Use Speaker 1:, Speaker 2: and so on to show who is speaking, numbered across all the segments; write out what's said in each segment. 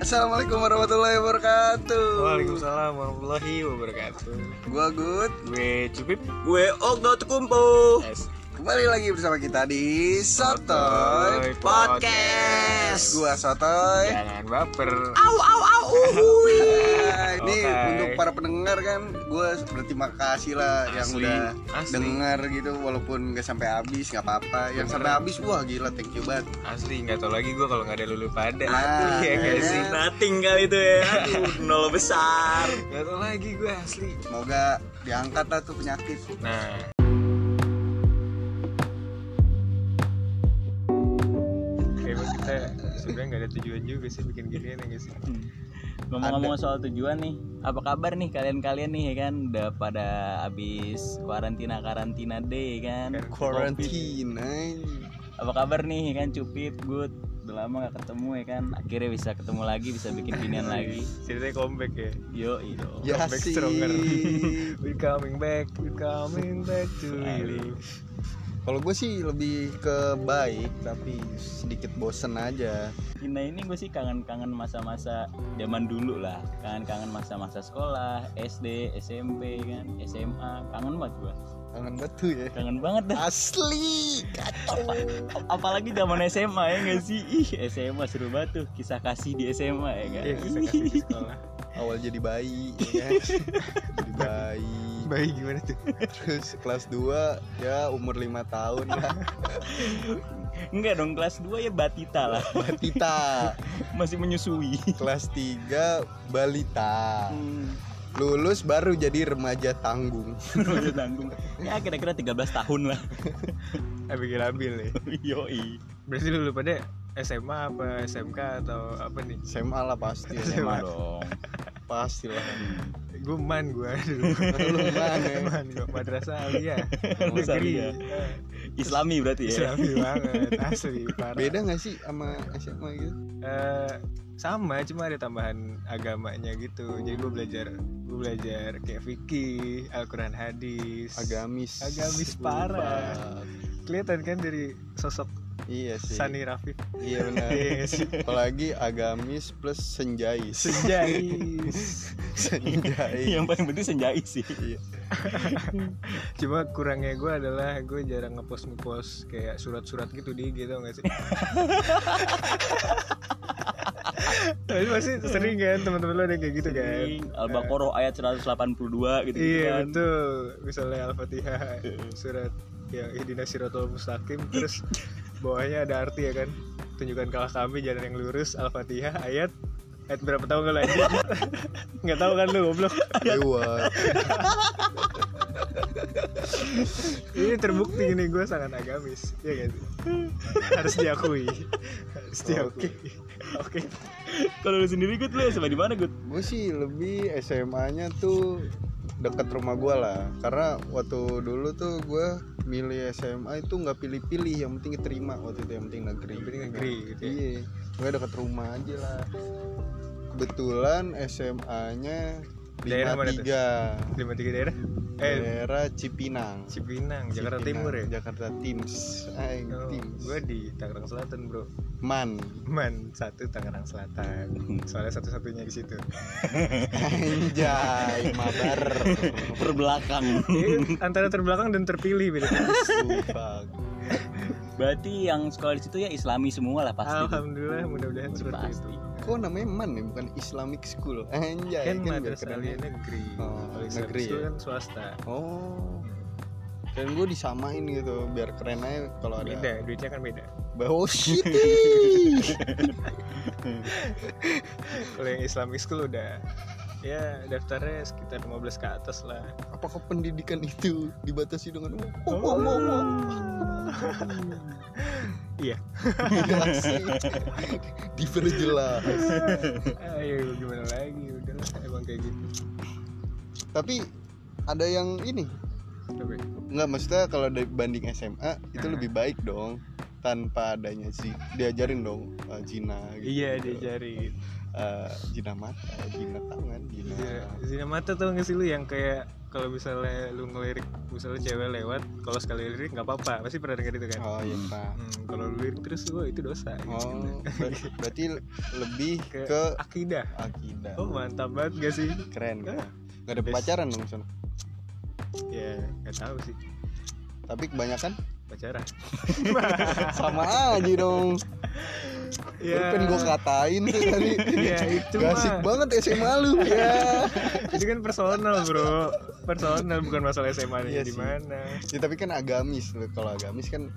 Speaker 1: Assalamualaikum warahmatullahi wabarakatuh.
Speaker 2: Waalaikumsalam warahmatullahi wabarakatuh.
Speaker 1: Gua Good.
Speaker 2: Gue Cupip
Speaker 3: Gue Ogdo Tukumpo
Speaker 2: S.
Speaker 1: Kembali lagi bersama kita di Sotoy.
Speaker 3: Podcast.
Speaker 1: Gua Sotoy.
Speaker 2: Jangan baper.
Speaker 3: Au au au uhui
Speaker 1: Hai. Ini
Speaker 2: Oke.
Speaker 1: untuk para pendengar kan, gue berterima kasih lah yang
Speaker 2: Asli,
Speaker 1: udah
Speaker 2: asli.
Speaker 1: dengar gitu, walaupun nggak sampai habis nggak apa-apa. Yang sampai
Speaker 2: Beneran.
Speaker 1: habis wah gila, thank you banget.
Speaker 2: Asli nggak tau lagi gue kalau nggak ada lulu pada.
Speaker 1: Ah,
Speaker 2: Iya nggak
Speaker 1: iya.
Speaker 2: sih.
Speaker 3: Rating kali itu ya Aduh, Nol besar
Speaker 2: Nggak tau lagi gue asli.
Speaker 1: Semoga diangkat lah tuh penyakit.
Speaker 2: Nah, Kayaknya kita sebenarnya nggak ada tujuan juga sih bikin ginian ya guys.
Speaker 4: Ngomong-ngomong soal tujuan nih, apa kabar nih kalian-kalian nih ya kan udah pada abis karantina karantina deh ya kan. Covid.
Speaker 1: Quarantine.
Speaker 4: Apa kabar nih ya kan Cupit, Good. Udah lama gak ketemu ya kan. Akhirnya bisa ketemu lagi, bisa bikin pinian lagi.
Speaker 2: Ceritanya comeback ya.
Speaker 4: Yo, yo.
Speaker 1: Ya
Speaker 2: Comeback
Speaker 1: sih.
Speaker 2: stronger. We coming back, we coming back to you.
Speaker 1: Kalau gue sih lebih ke baik, tapi sedikit bosen aja.
Speaker 4: Nah ini gue sih kangen-kangen masa-masa zaman dulu lah. Kangen-kangen masa-masa sekolah, SD, SMP ya kan, SMA. Kangen banget gue.
Speaker 1: Kangen batu ya.
Speaker 4: Kangen banget dah.
Speaker 1: Asli, kacau.
Speaker 4: apalagi zaman SMA ya nggak sih ih SMA seru banget tuh kisah kasih di SMA ya kan
Speaker 2: Iya, bisa kasih di sekolah.
Speaker 1: Awal jadi bayi, ya kan? jadi bayi.
Speaker 2: Baik gimana tuh?
Speaker 1: Terus kelas 2 ya umur 5 tahun Nah, lah.
Speaker 4: enggak dong kelas 2 ya batita lah
Speaker 1: Batita.
Speaker 4: masih menyusui
Speaker 1: Kelas 3 balita. Lulus baru jadi remaja tanggung.
Speaker 4: Remaja tanggung ya kira-kira 13 tahun lah
Speaker 2: Ambil ambil ya.
Speaker 4: yoi
Speaker 2: Berarti dulu pada SMA apa SMK atau apa nih?
Speaker 1: SMA lah
Speaker 2: Iya,
Speaker 1: pasti.
Speaker 4: SMA dong
Speaker 1: Pasti lah.
Speaker 2: Gue man gue dulu.
Speaker 1: Lu mana?
Speaker 2: man gue madrasah alia.
Speaker 4: Madrasah
Speaker 2: Negeri.
Speaker 1: iya.
Speaker 4: Aliyah. Islami berarti ya
Speaker 2: Islami banget asli parah.
Speaker 1: Beda gak sih sama SMA gitu?
Speaker 2: Eh, sama cuma ada tambahan agamanya gitu. Jadi gue belajar gue belajar kayak fikih, Al-Qur'an hadis.
Speaker 1: Agamis.
Speaker 2: Agamis parah.
Speaker 1: Lupa.
Speaker 2: Kelihatan kan dari sosok
Speaker 1: Iya sih.
Speaker 2: Sani Rafiq.
Speaker 1: Iya benar.
Speaker 2: Yes.
Speaker 1: Apalagi agamis plus senjais.
Speaker 2: Sejais.
Speaker 1: senjais.
Speaker 4: yang paling penting senjai sih
Speaker 1: Iya.
Speaker 2: Cuma kurangnya gue adalah gue jarang ngepost ngepost kayak surat-surat gitu di IG tau gak sih? Tapi masih sering kan teman-teman lo ada yang kayak gitu kan?
Speaker 4: Al-Baqarah ayat 182 gitu,
Speaker 2: Iya
Speaker 4: kan
Speaker 2: betul. Misalnya Al-Fatihah surat yang ihdina siratal mustaqim terus bawahnya ada arti ya kan? Tunjukkan kalah kami jalan yang lurus Al-Fatihah ayat ayat berapa tahu nggak lagi? nggak tahu kan lu goblok.
Speaker 1: Dewa.
Speaker 2: Ini terbukti ini gue sangat agamis, ya kan? Harus diakui, harus diakui. Oke.
Speaker 4: kalau lu sendiri Gut, lu SMA di mana Gut?
Speaker 1: Gue sih lebih SMA-nya tuh deket rumah gua lah. Karena waktu dulu tuh gua milih SMA itu nggak pilih-pilih, yang penting diterima waktu itu yang penting negeri.
Speaker 2: Yang penting negeri gitu ya.
Speaker 1: Iya. Gue deket rumah aja lah. Kebetulan SMA-nya
Speaker 2: Daerah mana tuh?
Speaker 1: 53
Speaker 2: Lima tiga daerah. Eh,
Speaker 1: daerah Cipinang.
Speaker 2: Cipinang, Jakarta
Speaker 1: Cipinang,
Speaker 2: Timur ya.
Speaker 1: Jakarta Tims. Aing
Speaker 2: Oh,
Speaker 1: Tims.
Speaker 2: gue di Tangerang Selatan bro.
Speaker 1: Man.
Speaker 2: Man satu Tangerang Selatan. Soalnya satu-satunya di situ.
Speaker 1: Anjay, mabar.
Speaker 4: perbelakang
Speaker 2: Ini antara terbelakang dan terpilih beda. tipis.
Speaker 1: Sumpah.
Speaker 4: berarti yang sekolah di situ ya Islami semua lah pasti tuh.
Speaker 2: Alhamdulillah mudah-mudahan seperti
Speaker 4: Pasti.
Speaker 2: itu.
Speaker 1: Kok namanya MAN nih, bukan Islamic School. Anjay,
Speaker 2: Kan
Speaker 1: biar
Speaker 2: madrasah
Speaker 1: keren.
Speaker 2: Aliyah negeri.
Speaker 1: Oh,
Speaker 2: Kalau Islam
Speaker 1: negeri
Speaker 2: itu
Speaker 1: ya.
Speaker 2: kan swasta.
Speaker 1: Oh. Dan gue disamain gitu biar keren aja kalau ada
Speaker 2: Beda, duitnya kan beda.
Speaker 1: bau shit.
Speaker 2: Kalau yang Islamic school udah ya daftarnya sekitar 15 ke atas lah.
Speaker 1: Apakah pendidikan itu dibatasi dengan
Speaker 2: Oh,
Speaker 1: oh, oh, oh, oh.
Speaker 2: Iya.
Speaker 1: Jelasin. Diperjelas.
Speaker 2: Ayo gimana lagi udahlah emang kayak gitu.
Speaker 1: Tapi ada yang ini
Speaker 2: Tapi
Speaker 1: nggak maksudnya kalau dibanding SMA itu
Speaker 2: Nah.
Speaker 1: lebih baik dong tanpa adanya sih diajarin dong eh, jina gitu.
Speaker 2: iya diajarin.
Speaker 1: Eh, jina mata, jina tangan, jina
Speaker 2: Zina mata tuh nggak sih lu yang kayak kalau misalnya lu ngelirik misalnya cewek lewat kalau sekali lirik nggak apa-apa pasti pernah denger itu kan
Speaker 1: oh iya pak
Speaker 2: Hmm, kalau lu lirik terus wah itu dosa gitu.
Speaker 1: oh ber- berarti lebih
Speaker 2: Ke-
Speaker 1: ke
Speaker 2: akidah
Speaker 1: akidah
Speaker 2: oh mantap banget gak sih
Speaker 1: keren
Speaker 2: Ah.
Speaker 1: gak ada
Speaker 2: Yes.
Speaker 1: pacaran dong Sun.
Speaker 2: ya nggak tahu sih
Speaker 1: tapi kebanyakan
Speaker 2: pacaran
Speaker 1: sama aja dong Lu
Speaker 2: ya
Speaker 1: pengen gue katain tuh tadi
Speaker 2: ya itu
Speaker 1: Gak asik
Speaker 2: mah
Speaker 1: banget SMA lu ya.
Speaker 2: itu kan personal bro personal bukan masalah SMA
Speaker 1: Iya
Speaker 2: nya
Speaker 1: sih.
Speaker 2: di mana
Speaker 1: ya tapi kan agamis lu. kalau agamis kan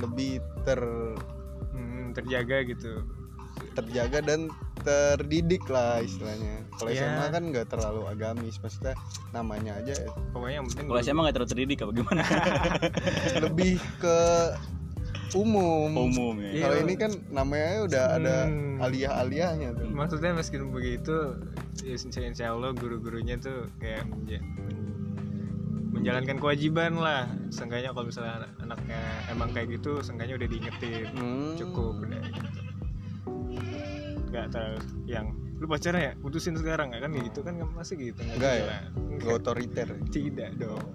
Speaker 1: lebih ter
Speaker 2: Hmm, terjaga gitu
Speaker 1: terjaga dan terdidik lah istilahnya kalau
Speaker 2: Iya.
Speaker 1: SMA kan nggak terlalu agamis maksudnya namanya aja
Speaker 2: pokoknya yang penting
Speaker 4: Kalau
Speaker 2: lu-
Speaker 4: saya emang nggak terlalu terdidik apa gimana?
Speaker 1: lebih ke umum,
Speaker 4: Umum ya.
Speaker 1: kalau
Speaker 2: Iya.
Speaker 1: ini kan namanya udah ada
Speaker 2: Hmm.
Speaker 1: aliyah-aliyahnya tuh
Speaker 2: maksudnya meskipun begitu ya insya, insya Allah guru-gurunya tuh kayak menja- menjalankan kewajiban lah seenggaknya kalau misalnya anak- anaknya emang kayak gitu seenggaknya udah diingetin
Speaker 1: Hmm.
Speaker 2: cukup udah gitu. nggak terlalu yang lu pacaran ya putusin sekarang ya kan kayak gitu kan masih gitu nggak
Speaker 1: Enggak ya?
Speaker 2: jelas.
Speaker 1: Nggak otoriter
Speaker 2: tidak dong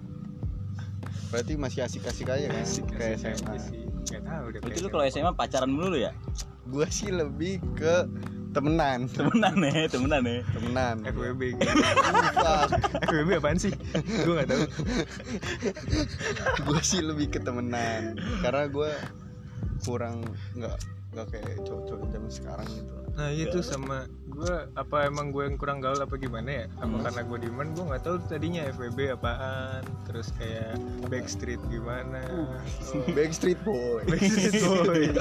Speaker 1: berarti masih asik-asik aja kan kayak
Speaker 2: Asik-asik aja
Speaker 1: SMA
Speaker 2: sih nggak tahu deh
Speaker 4: Berarti
Speaker 2: kayak
Speaker 4: lu kalau
Speaker 2: SMA.
Speaker 4: SMA pacaran mulu lu ya?
Speaker 1: gue sih lebih ke temenan
Speaker 4: Temenan ya, temenan ya.
Speaker 1: temenan
Speaker 2: FWB
Speaker 1: Fuck.
Speaker 2: FWB apaan sih gue nggak tahu
Speaker 1: gue sih lebih ke temenan karena gue kurang nggak nggak kayak cowok-cowok zaman sekarang gitu
Speaker 2: Nah itu sama gue apa emang gue yang kurang gaul apa gimana ya? Apa karena gue dieman gue nggak tahu tadinya FWB apaan, terus kayak Backstreet gimana?
Speaker 1: Backstreet Boy
Speaker 2: Backstreet Boys.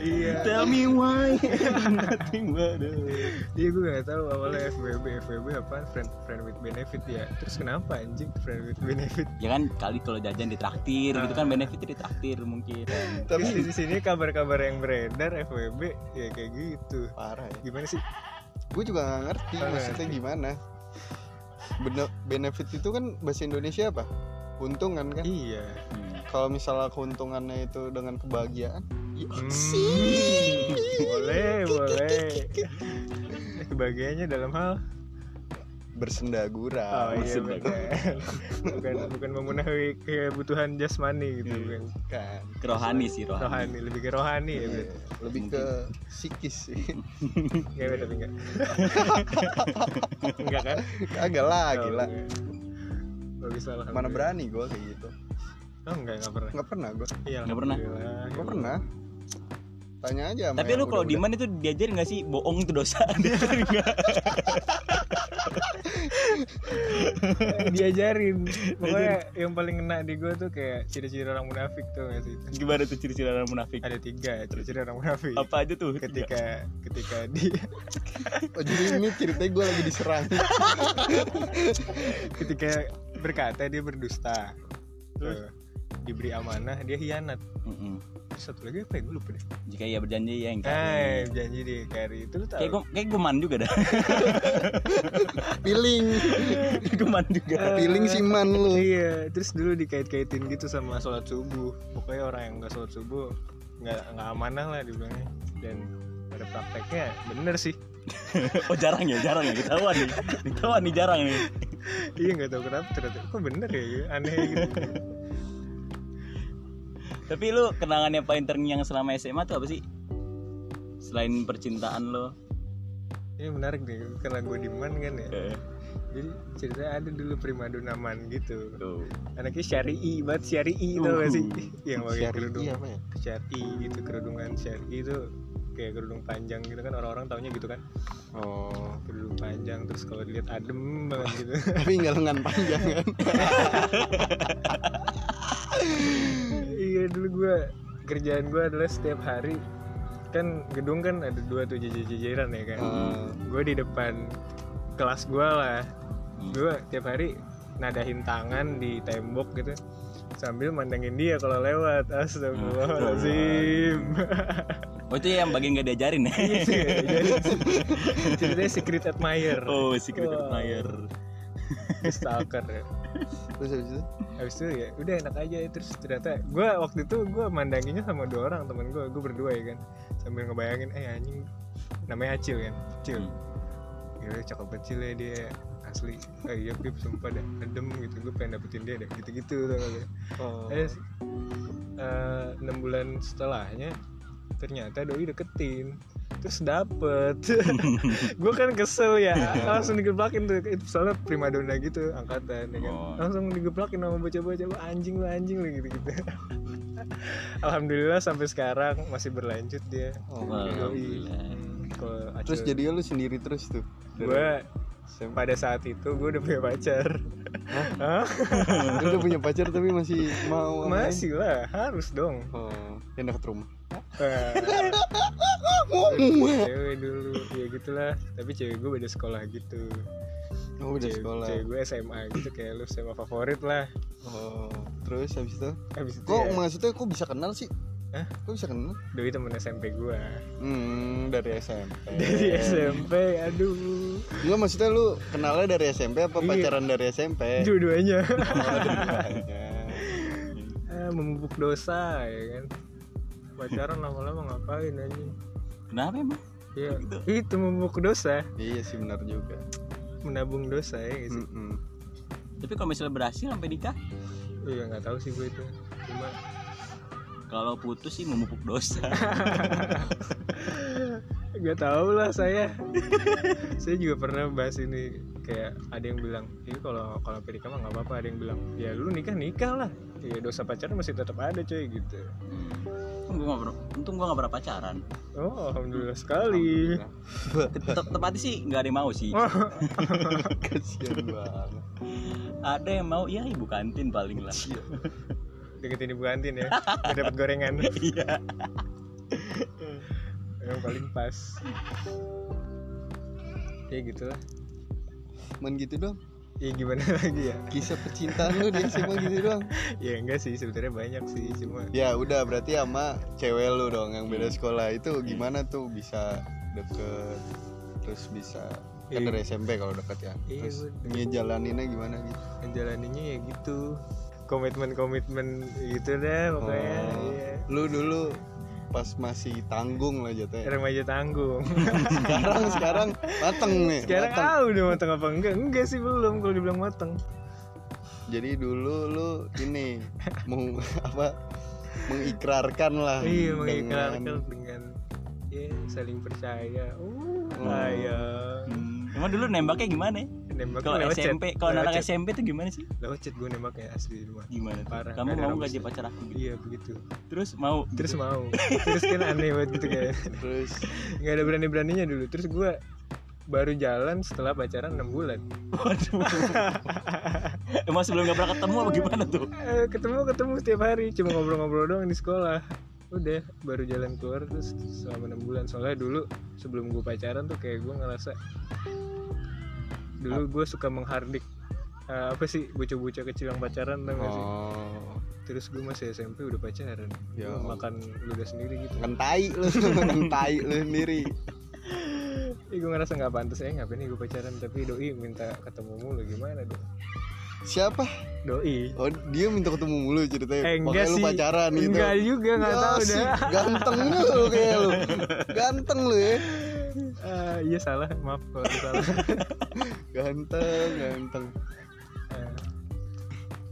Speaker 2: iya,
Speaker 4: Tell me why nothing but a-
Speaker 2: iya gue nggak tahu awalnya FWB FWB apaan? Friend friend with benefit ya. Terus kenapa anjing friend with benefit?
Speaker 4: Ya kan kali kalau jajan ditraktir gitu kan benefitnya ditraktir mungkin.
Speaker 2: Tapi
Speaker 1: tapi
Speaker 2: di sini kabar-kabar yang beredar FWB ya kayak gitu.
Speaker 1: parah ya
Speaker 2: Gimana sih?
Speaker 1: gue juga nggak ngerti
Speaker 2: Nggak
Speaker 1: maksudnya
Speaker 2: ngerti.
Speaker 1: gimana Bene- benefit itu kan bahasa Indonesia apa keuntungan kan
Speaker 2: Iya.
Speaker 4: Hmm.
Speaker 1: kalau misalnya keuntungannya itu dengan kebahagiaan ya,
Speaker 2: Hmm, boleh boleh. Kebahagiaannya dalam hal Oh
Speaker 1: bersendagura
Speaker 2: iya
Speaker 4: Maksud
Speaker 2: bukan.
Speaker 4: aku.
Speaker 2: bukan bukan memenuhi kebutuhan jasmani gitu bukan
Speaker 1: kan
Speaker 4: Kerohani sih rohani.
Speaker 2: rohani lebih ke rohani ya
Speaker 1: Iya,
Speaker 2: berarti
Speaker 1: lebih ke psikis sih
Speaker 2: ngewe tapi enggak enggak kan
Speaker 1: agak lah Ah,
Speaker 2: Oh,
Speaker 1: gila
Speaker 2: enggak. bagus lah
Speaker 1: mana
Speaker 2: alhamdulillah.
Speaker 1: berani gue kayak gitu
Speaker 2: oh enggak enggak pernah
Speaker 1: nggak pernah gue
Speaker 2: iya
Speaker 4: Enggak pernah.
Speaker 2: alhamdulillah.
Speaker 1: Gue pernah. Tanya aja sama
Speaker 4: Tapi
Speaker 1: yang
Speaker 4: lu kalau
Speaker 1: udah-udah.
Speaker 4: diman itu diajarin nggak sih bohong itu dosa? Diajarin nggak?
Speaker 2: diajarin pokoknya yang paling kena di gue tuh kayak ciri-ciri orang munafik tuh nggak sih itu
Speaker 4: Gimana tuh ciri-ciri orang munafik?
Speaker 2: ada tiga ya, ciri-ciri orang munafik
Speaker 4: Apa aja tuh?
Speaker 2: ketika ketika di
Speaker 1: Oh, jadi ini ceritanya gue lagi diserang.
Speaker 2: ketika berkata dia berdusta
Speaker 4: Terus?
Speaker 2: Tuh. diberi amanah dia hianat
Speaker 4: Mm-mm.
Speaker 2: satu lagi apa ya gue lupa deh
Speaker 4: Jika ia berjanji ya engkau.
Speaker 2: Eh, janji deh Kari itu lu tahu.
Speaker 4: Kayak gue kayak gue man juga dah.
Speaker 1: Piling,
Speaker 4: gue man juga.
Speaker 1: piling sih man lu.
Speaker 2: Iya, terus dulu dikait-kaitin gitu sama sholat subuh. Pokoknya orang yang nggak sholat subuh nggak nggak amanah lah dibilangnya. Dan pada prakteknya bener sih.
Speaker 4: Oh jarang ya, jarang ya ketahuan nih. Ketahuan nih jarang nih.
Speaker 2: iya nggak tahu kenapa ternyata kok bener ya gitu? aneh gitu.
Speaker 4: Tapi lu kenangan yang paling terngiang selama SMA tuh apa sih? Selain percintaan lo.
Speaker 2: Ini menarik nih karena gue diman kan ya.
Speaker 4: Eh,
Speaker 2: Jadi ceritanya ada dulu primadona man gitu.
Speaker 4: tuh.
Speaker 2: Anaknya syari'i banget syari'i tau gak sih? yang pakai
Speaker 1: Uhuh. Syari'i
Speaker 2: kerudung.
Speaker 1: apa ya?
Speaker 2: Syari'i gitu kerudungan syari'i itu kayak kerudung panjang gitu kan orang-orang taunya gitu kan.
Speaker 1: Oh,
Speaker 2: kerudung panjang terus kalau dilihat adem banget gitu
Speaker 1: tapi nggak lengan panjang kan?
Speaker 2: iya dulu gue kerjaan gue adalah setiap hari kan gedung kan ada dua tuh jejer-jejeran ya kan
Speaker 4: Ah.
Speaker 1: Eh,
Speaker 2: gue di depan kelas gue lah
Speaker 4: Hmm.
Speaker 2: gue tiap hari nadahin tangan di tembok gitu sambil mandangin dia kalau lewat astagfirullahaladzim
Speaker 4: Oh itu yang bagian gak diajarin ya.
Speaker 2: Jadi, ceritanya secret admirer
Speaker 4: oh, secret
Speaker 2: Wow.
Speaker 4: admirer.
Speaker 2: stalker ya
Speaker 1: terus habis itu?
Speaker 2: Habis itu ya udah enak aja terus ternyata gue waktu itu gue mandanginnya sama dua orang temen gue gue berdua ya kan sambil ngebayangin eh anjing namanya Acil kan Acil
Speaker 4: Hmm.
Speaker 2: Gila cakep kecil ya dia asli ah, iya pip sumpah dah adem gitu gue pengen dapetin dia dah gitu gitu tuh
Speaker 1: Oh.
Speaker 2: eh eh, enam bulan setelahnya ternyata doi deketin terus dapet gue kan kesel ya langsung digeplakin tuh itu soalnya primadona gitu angkatan ya kan
Speaker 4: Oh.
Speaker 2: langsung digeplakin sama bocah-bocah "Wah, anjing lu anjing lu gitu gitu alhamdulillah sampai sekarang masih berlanjut dia
Speaker 1: Oh,
Speaker 4: Wah.
Speaker 1: oke.
Speaker 4: Alhamdulillah.
Speaker 2: Hmm, ke
Speaker 1: Terus
Speaker 2: Aceh.
Speaker 1: jadi lu sendiri terus tuh. Dari
Speaker 2: gue
Speaker 1: SMA.
Speaker 2: pada saat itu gue udah punya pacar Hah?
Speaker 1: Lu udah punya pacar tapi masih mau sama lain?
Speaker 2: masih lah harus dong
Speaker 1: Oh, yang dekat rumah.
Speaker 2: Eh,
Speaker 1: Oh,
Speaker 2: cewek dulu ya gitulah tapi cewek gue beda sekolah gitu
Speaker 1: Oh, udah
Speaker 2: cewek,
Speaker 1: sekolah.
Speaker 2: cewek gue SMA gitu kayak lu SMA favorit lah
Speaker 1: Oh, terus habis itu? Iya.
Speaker 2: habis itu
Speaker 1: Kok
Speaker 2: ya,
Speaker 1: maksudnya kok bisa kenal sih?
Speaker 2: Hah?
Speaker 1: Kok bisa kenal?
Speaker 2: doi temen SMP gue
Speaker 1: Hmm, dari SMP.
Speaker 2: dari SMP aduh
Speaker 1: Enggak maksudnya lu kenalnya dari SMP apa
Speaker 2: Iya.
Speaker 1: pacaran dari SMP?
Speaker 2: dua-duanya
Speaker 1: Oh, dua-duanya.
Speaker 2: Eh, memupuk dosa ya kan pacaran lama-lama ngapain aja
Speaker 4: Kenapa emang?
Speaker 2: ya
Speaker 1: Gitu.
Speaker 2: itu memupuk dosa
Speaker 1: iya sih benar juga.
Speaker 2: menabung dosa ya gitu
Speaker 1: Mm-mm.
Speaker 4: Tapi kalau misalnya berhasil sampai nikah,
Speaker 1: Hmm.
Speaker 2: Iya nggak tahu sih gue itu. Cuma
Speaker 4: kalau putus sih memupuk dosa.
Speaker 2: nggak tahu lah saya. saya juga pernah bahas ini kayak ada yang bilang, ini kalau kalau sampai nikah mah nggak apa-apa. Ada yang bilang, ya lu nikah nikah lah. Ya dosa pacaran masih tetap ada coy gitu.
Speaker 4: Hmm. Untung gue gak, per- untung gue gak pernah pacaran.
Speaker 2: Oh alhamdulillah sekali.
Speaker 4: Tetap tepatnya sih nggak ada yang mau sih.
Speaker 1: Kasihan banget.
Speaker 4: Ada yang mau, ya ibu kantin paling lah.
Speaker 2: Deketin ibu kantin ya, nggak dapat gorengan.
Speaker 4: Iya.
Speaker 2: yang paling pas. Ya gitu lah.
Speaker 1: Cuman gitu dong.
Speaker 2: Ya gimana lagi ya?
Speaker 1: Kisah percintaan lu di SMA gitu doang.
Speaker 2: Ya enggak sih sebenarnya banyak sih cuma
Speaker 1: Ya udah berarti sama cewek lu dong yang
Speaker 2: Hmm.
Speaker 1: beda sekolah itu gimana tuh bisa deket terus bisa kan
Speaker 2: Iya.
Speaker 1: dari SMP kalau deket ya
Speaker 2: Iya,
Speaker 1: terus
Speaker 2: bener.
Speaker 1: ngejalaninnya gimana gitu
Speaker 2: ngejalaninnya ya gitu komitmen-komitmen gitu deh pokoknya
Speaker 1: Oh.
Speaker 2: iya.
Speaker 1: lu dulu pas masih tanggung lah jatuhnya
Speaker 2: remaja tanggung
Speaker 1: sekarang sekarang mateng nih
Speaker 2: sekarang
Speaker 1: mateng.
Speaker 2: ah udah mateng apa enggak enggak sih belum kalau dibilang mateng
Speaker 1: jadi dulu lu ini mau apa mengikrarkan
Speaker 4: Ah,
Speaker 1: lah
Speaker 2: iya
Speaker 1: dengan-
Speaker 2: mengikrarkan dengan ya saling percaya uh
Speaker 4: Oh.
Speaker 2: sayang
Speaker 4: Hmm. Cuma dulu nembaknya gimana ya?
Speaker 2: nembak
Speaker 4: Kalau SMP, kalau anak SMP tuh gimana sih?
Speaker 2: lewat chat gue nembaknya asli di rumah
Speaker 4: Gimana? tuh?
Speaker 2: Parah,
Speaker 4: Kamu
Speaker 2: nggak ada
Speaker 4: mau
Speaker 2: orang
Speaker 4: gak jadi
Speaker 2: bisa.
Speaker 4: pacar aku? gitu?
Speaker 2: iya begitu
Speaker 4: Terus mau.
Speaker 2: terus mau terus kan aneh banget gitu kayak
Speaker 1: terus
Speaker 2: nggak ada berani beraninya dulu terus gue baru jalan setelah pacaran 6 bulan
Speaker 4: Waduh. Emang sebelum gak pernah ketemu apa gimana tuh?
Speaker 2: Eh, ketemu ketemu setiap hari cuma ngobrol-ngobrol doang di sekolah udah baru jalan keluar terus selama enam bulan soalnya dulu sebelum gue pacaran tuh kayak gue ngerasa dulu gue suka menghardik eh, apa sih bocah-bocah kecil yang pacaran tau gak Iya sih
Speaker 1: oh
Speaker 2: terus gue masih SMP udah pacaran
Speaker 1: Ya
Speaker 2: Gua
Speaker 1: Allah. Kan
Speaker 2: makan ludah sendiri gitu
Speaker 1: kentai lu kentai lu sendiri
Speaker 2: Ih, gue ngerasa nggak pantas ya ngapain nih gue pacaran tapi doi minta ketemu mulu gimana dong
Speaker 1: siapa
Speaker 2: doi
Speaker 1: oh dia minta ketemu mulu ceritanya
Speaker 2: Eh, enggak
Speaker 1: makanya lu
Speaker 2: sih.
Speaker 1: pacaran gitu
Speaker 2: enggak juga nggak
Speaker 1: Ya
Speaker 2: tahu
Speaker 1: sih,
Speaker 2: dah
Speaker 1: Ganteng lu lu kayak lu. Ganteng lu ya.
Speaker 2: Eh, iya salah maaf kalau salah
Speaker 1: Ganteng, ganteng.
Speaker 2: Eh,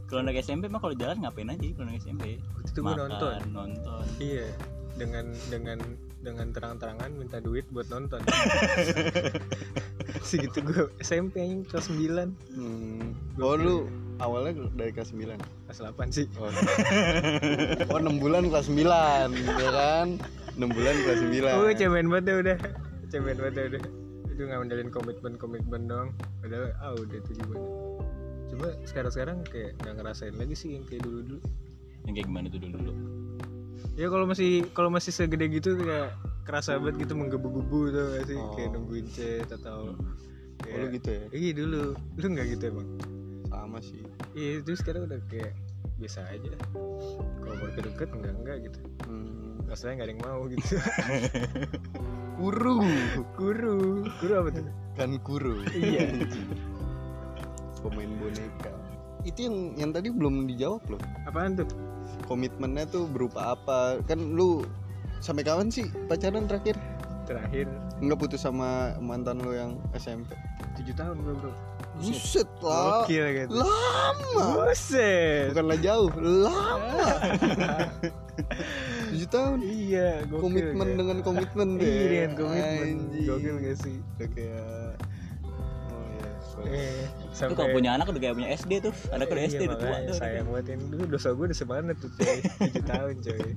Speaker 4: Kalau anak SMP mah kalau jalan ngapain aja kalau anak SMP?
Speaker 2: waktu itu gue
Speaker 4: Makan,
Speaker 2: nonton
Speaker 4: nonton.
Speaker 2: Iya, dengan dengan dengan terang-terangan minta duit buat nonton. Segitu gue SMP anjing kelas 9,
Speaker 1: Hmm. Oh lu awalnya dari kelas 9.
Speaker 2: kelas 8 sih.
Speaker 1: Oh. oh 6 bulan kelas 9, ya kan? 6 bulan kelas 9.
Speaker 2: Oh, cemen banget deh udah. Cemen banget deh udah. Itu nggak ngandelin komitmen-komitmen doang. Padahal ah udah itu juga. Cuma sekarang-sekarang kayak nggak ngerasain lagi sih yang kayak dulu-dulu.
Speaker 4: Yang kayak gimana tuh dulu dulu?
Speaker 2: Ya kalau masih kalau masih segede gitu kayak kerasa banget gitu menggebu-gebu tuh gak sih? Kayak
Speaker 1: Oh.
Speaker 2: nungguin chat atau
Speaker 1: Oh, lu
Speaker 2: kayak
Speaker 1: gitu ya.
Speaker 2: Iya dulu, lu nggak gitu emang?
Speaker 1: Sama sih.
Speaker 2: Iya itu sekarang udah kayak biasa aja Kalau mau deket enggak enggak gitu
Speaker 1: Hmm.
Speaker 2: Rasanya nggak ada yang mau gitu
Speaker 1: Kuru,
Speaker 2: Guru Guru apa tuh?
Speaker 1: kan kuru.
Speaker 2: Iya.
Speaker 1: Pemain boneka. Itu yang yang tadi belum dijawab loh.
Speaker 2: Apaan tuh?
Speaker 1: Komitmennya tuh berupa apa? Kan lu sampai kapan sih pacaran terakhir?
Speaker 2: Terakhir
Speaker 1: Enggak putus sama mantan lo yang SMP.
Speaker 2: 7 tahun gue bro
Speaker 1: buset lah
Speaker 2: Gokil gitu.
Speaker 1: lama
Speaker 2: Buset.
Speaker 1: bukanlah jauh lama tujuh tahun
Speaker 2: Iya, gokil.
Speaker 1: komitmen
Speaker 2: kan?
Speaker 1: dengan komitmen deh
Speaker 2: Iya, dengan komitmen.
Speaker 1: Anjing.
Speaker 2: Gokil gak sih?
Speaker 1: Udah kayak oh iya sorry.
Speaker 2: Eh,
Speaker 4: Itu kalau punya anak udah kayak punya SD tuh. Anak udah
Speaker 2: Iya,
Speaker 4: SD udah tua
Speaker 2: makanya
Speaker 4: tuh.
Speaker 2: Sayang banget ini dulu dosa gue udah semana tuh, coy. 7 tahun, coy.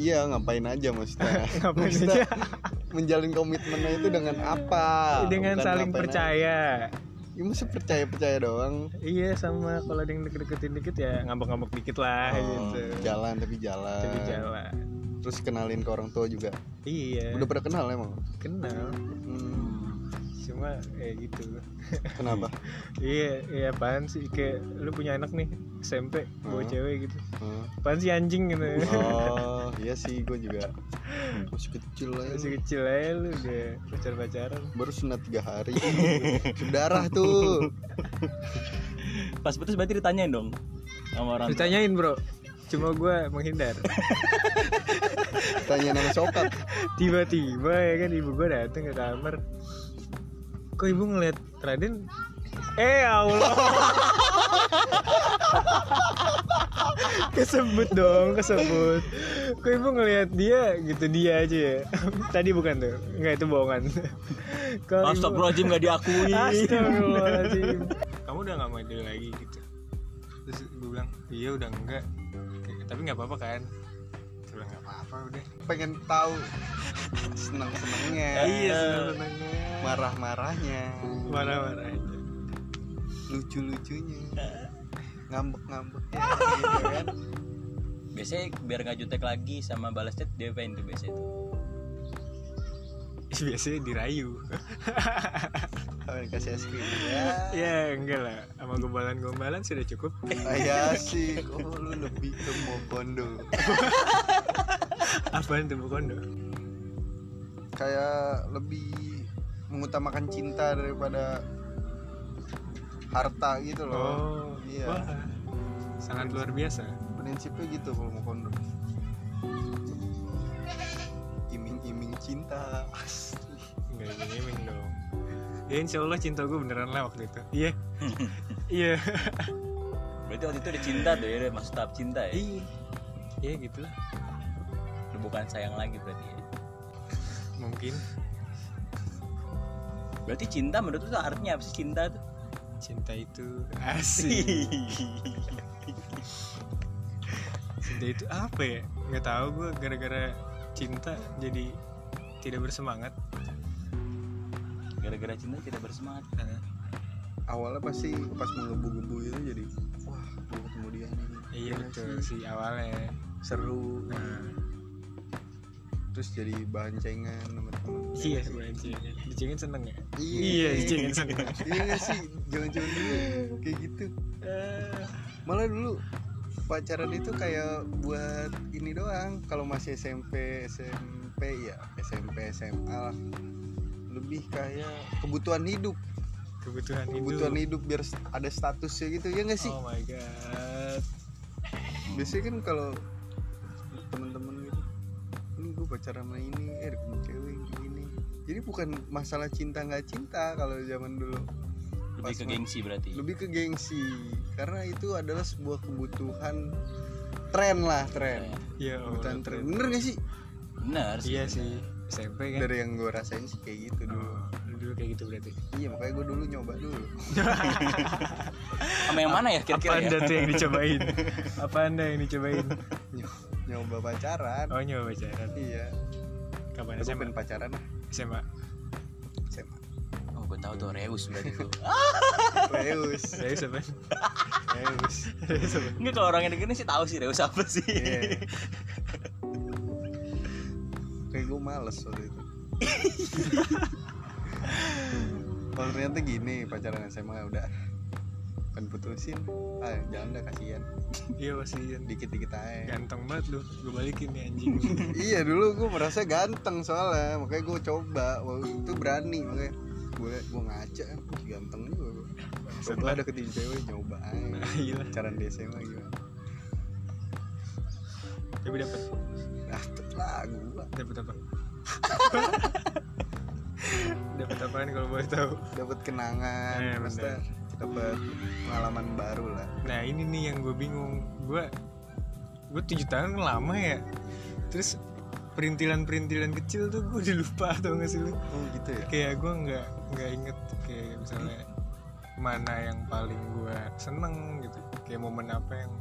Speaker 1: iya ngapain aja maksudnya
Speaker 2: Ngapain
Speaker 1: Maksudnya,
Speaker 2: aja?
Speaker 1: menjalin komitmennya itu dengan apa
Speaker 2: Dengan
Speaker 1: Ah, Bukan
Speaker 2: saling
Speaker 1: ngapain aja.
Speaker 2: percaya.
Speaker 1: ya masa percaya percaya doang
Speaker 2: Iya sama kalau ada yang deket-deketin dikit ya ngambek-ngambek dikit lah
Speaker 1: Oh,
Speaker 2: gitu.
Speaker 1: jalan tapi jalan
Speaker 2: Jadi jalan.
Speaker 1: terus kenalin ke orang tua juga
Speaker 2: Iya.
Speaker 1: udah pernah kenal emang
Speaker 2: kenal.
Speaker 1: Hmm,
Speaker 2: Cuma kayak gitu.
Speaker 1: kenapa
Speaker 2: Iya, iya apaan sih kayak lu punya anak nih SMP bawa
Speaker 1: Hmm.
Speaker 2: cewek gitu.
Speaker 1: Hah?
Speaker 2: Apaan sih anjing gitu.
Speaker 1: oh iya sih gue juga masih kecil lah ya.
Speaker 2: Masih kecil aja lu udah pacar-pacaran.
Speaker 1: baru sunat tiga hari Berdarah tuh
Speaker 4: Pas putus berarti ditanyain dong sama orang. tua.
Speaker 2: Ditanyain, Bro. Cuma gua menghindar.
Speaker 1: tanya nama sokap
Speaker 2: Tiba-tiba ya kan ibu gua datang ke kamar. Kok ibu ngeliat Raden? Eh Allah. kesebut dong, kesebut. Kok ibu ngeliat dia gitu dia aja ya. Tadi bukan tuh. Enggak itu bohongan. Kalau ibu-
Speaker 4: Astagfirullahaladzim gak diakui
Speaker 2: Astagfirullahaladzim Kamu udah gak maju lagi gitu Terus gue bilang Iya udah enggak Kayak, Tapi gak apa-apa kan Gue bilang gak apa-apa udah
Speaker 1: pengen tahu senang senangnya
Speaker 2: Iya sebenarnya
Speaker 1: marah marahnya
Speaker 2: Marah-marah aja
Speaker 1: lucu lucunya ngambek ngambeknya gitu kan.
Speaker 4: Biasanya biar gak jutek lagi sama balas chat Dia pengen tuh biasanya tuh
Speaker 2: Biasanya dirayu
Speaker 1: kan kasih es krim ya
Speaker 2: Ya enggak lah Sama gombalan-gombalan sudah cukup
Speaker 1: Ayah Nah, iya sih, kok lu lebih ke Mokondo
Speaker 2: Apaan tuh Bu Kondo?
Speaker 1: Kayak lebih mengutamakan cinta daripada harta gitu loh
Speaker 2: Oh
Speaker 1: Iya.
Speaker 2: Wah Sangat luar biasa
Speaker 1: Prinsipnya gitu kalau Mokondo Iming-iming cinta
Speaker 2: Enggak gini dong Ya insya Allah cinta gue beneran lah waktu itu Iya Iya
Speaker 4: Berarti waktu itu udah cinta tuh ya udah Masuk tahap cinta ya
Speaker 2: Iya Iya gitu lah
Speaker 4: Udah Bukan sayang lagi berarti ya
Speaker 2: Mungkin
Speaker 4: Berarti cinta menurut lu tuh artinya apa sih cinta tuh?
Speaker 2: cinta itu asik cinta itu apa ya nggak tahu gue gara-gara cinta jadi tidak bersemangat
Speaker 4: Gara-gara cinta tidak bersemangat
Speaker 1: Awalnya pasti pas menggebu-gebu itu jadi Wah, gue ketemu dia nih
Speaker 2: iya
Speaker 1: Gila
Speaker 2: betul sih
Speaker 1: sih.
Speaker 2: awalnya
Speaker 1: Seru
Speaker 2: nah
Speaker 1: Terus jadi bahan cengan sama temen
Speaker 2: iya sebenarnya dicengin dicengin seneng ya Eh, dicengin seneng
Speaker 1: Iya gak sih, jangan-jangan dulu kayak gitu
Speaker 2: Eh,
Speaker 1: Malah dulu pacaran itu kayak buat ini doang Kalau masih SMP, SMP ya SMP, SMA lah lebih kayak kebutuhan hidup
Speaker 2: kebutuhan hidup
Speaker 1: kebutuhan hidup biar st- ada statusnya gitu ya nggak sih
Speaker 2: oh my god
Speaker 1: biasanya kan kalau temen-temen gitu ini gue pacaran sama ini eh ada punya cewek ini jadi bukan masalah cinta nggak cinta kalau zaman dulu
Speaker 4: Lebih ke
Speaker 1: Pas-
Speaker 4: gengsi berarti
Speaker 1: lebih ke gengsi karena itu adalah sebuah kebutuhan tren lah
Speaker 4: Iya,
Speaker 1: tren
Speaker 2: ya
Speaker 1: kebutuhan
Speaker 2: Allah.
Speaker 1: tren bener gak sih
Speaker 4: Benar sih
Speaker 2: iya sih SMP kan
Speaker 1: dari yang gue rasain sih kayak gitu dulu
Speaker 2: Oh, dulu kayak gitu berarti
Speaker 1: iya makanya gue dulu nyoba dulu
Speaker 4: Sama yang mana ya
Speaker 2: apa
Speaker 4: kira-kira ya?
Speaker 2: anda tuh yang dicobain apa anda yang dicobain
Speaker 1: Nyo- nyoba pacaran
Speaker 2: oh nyoba pacaran
Speaker 1: iya
Speaker 2: kapan
Speaker 1: gue
Speaker 2: SMA
Speaker 1: pengen pacaran lah
Speaker 2: SMA
Speaker 1: SMA
Speaker 4: Oh gue tau tuh Reus berarti tuh
Speaker 1: Reus
Speaker 2: Dari SMA
Speaker 1: Reus
Speaker 4: Enggak kalau orang yang dengerin sih tahu sih Reus apa sih
Speaker 1: Iya. kayak gue males waktu itu kalau ternyata gini pacaran SMA udah kan putusin ah jangan dah kasihan
Speaker 2: Iya kasihan
Speaker 1: dikit-dikit aja
Speaker 2: Ganteng banget lu Gue balikin nih anjing
Speaker 1: iya dulu gue merasa ganteng soalnya makanya gue coba waktu itu berani makanya gue gue ngaca "Ih, ganteng juga gue coba ada ketin cewek coba aja
Speaker 2: Gila
Speaker 1: pacaran di SMA gimana
Speaker 2: Tapi dapet
Speaker 1: nah lah gue
Speaker 2: Dapet apa? dapet dapat apaan kalau boleh tahu
Speaker 1: dapat kenangan
Speaker 2: Eh,
Speaker 1: maksudnya dapat pengalaman baru lah
Speaker 2: nah ini nih yang gue bingung gue gue tujuh tahun kan lama ya terus perintilan-perintilan kecil tuh gue udah lupa atau nggak sih lu
Speaker 1: oh gitu ya
Speaker 2: kayak gue nggak nggak inget kayak misalnya mana yang paling gue seneng gitu kayak momen apa yang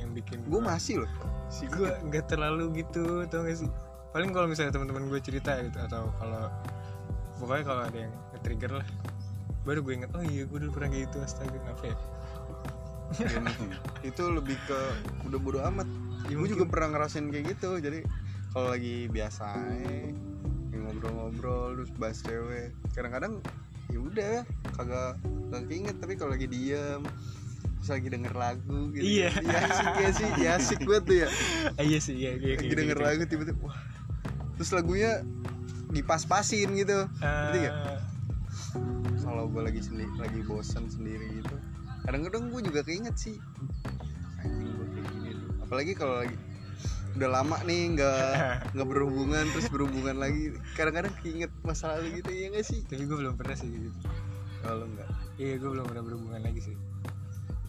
Speaker 2: yang bikin
Speaker 1: gue masih loh
Speaker 2: sih gue nggak terlalu gitu tau gak sih paling kalau misalnya teman-teman gue cerita gitu atau kalau pokoknya kalau ada yang trigger lah baru gue inget oh iya gue dulu pernah kayak gitu astaga apa ya
Speaker 1: Dan itu lebih ke udah bodo amat
Speaker 2: Ya,
Speaker 1: gue
Speaker 2: mungkin-
Speaker 1: juga pernah ngerasain kayak gitu jadi kalau lagi biasa aja, ngobrol-ngobrol terus bahas cewek kadang-kadang ya udah kagak kagak keinget tapi kalau lagi diem terus lagi denger lagu gitu
Speaker 2: Iya.
Speaker 1: ya asik ya sih ya asik banget tuh ya
Speaker 2: Ah, iya sih iya iya
Speaker 1: lagi denger lagu tiba-tiba wah terus lagunya dipas-pasin gitu ngerti gak?
Speaker 2: Ah,
Speaker 1: kalau gue lagi sendiri lagi bosan sendiri gitu kadang-kadang gue juga keinget sih anjing gue kayak gini dulu. apalagi kalau lagi udah lama nih nggak nggak berhubungan terus berhubungan lagi kadang-kadang keinget masa lalu gitu ya nggak sih
Speaker 2: tapi gue belum pernah sih gitu
Speaker 1: kalau nggak
Speaker 2: iya gue belum pernah berhubungan lagi sih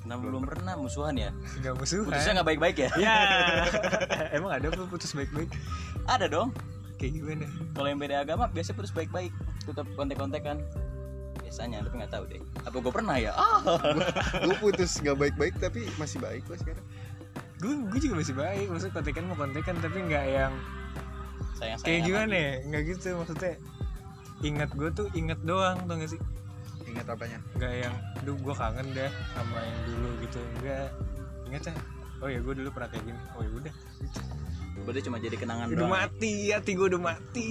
Speaker 4: Kenapa belum pernah musuhan ya?
Speaker 2: nggak musuh
Speaker 4: Putusnya nggak baik-baik ya?
Speaker 2: ya emang ada apa putus baik-baik
Speaker 4: Ada dong.
Speaker 2: kayak gimana
Speaker 4: Kalau yang beda agama biasanya putus baik-baik, tetap kontek-kontek kan. Biasanya, tapi nggak tahu deh. Apa gue pernah ya? Ah.
Speaker 1: gue putus nggak baik-baik tapi masih baik gue sekarang
Speaker 2: gue gue juga masih baik maksudnya kontekan mau kontekan tapi nggak yang
Speaker 4: Sayang
Speaker 2: kayak gimana ya nggak gitu maksudnya ingat gue tuh ingat doang tuh gak sih
Speaker 1: ingat apanya
Speaker 2: nggak yang duh gue kangen dah sama yang dulu gitu enggak ingat ya oh ya gue dulu pernah kayak gini oh ya udah
Speaker 4: Berarti cuma jadi kenangan
Speaker 2: udah
Speaker 4: doang.
Speaker 2: mati hati gue udah mati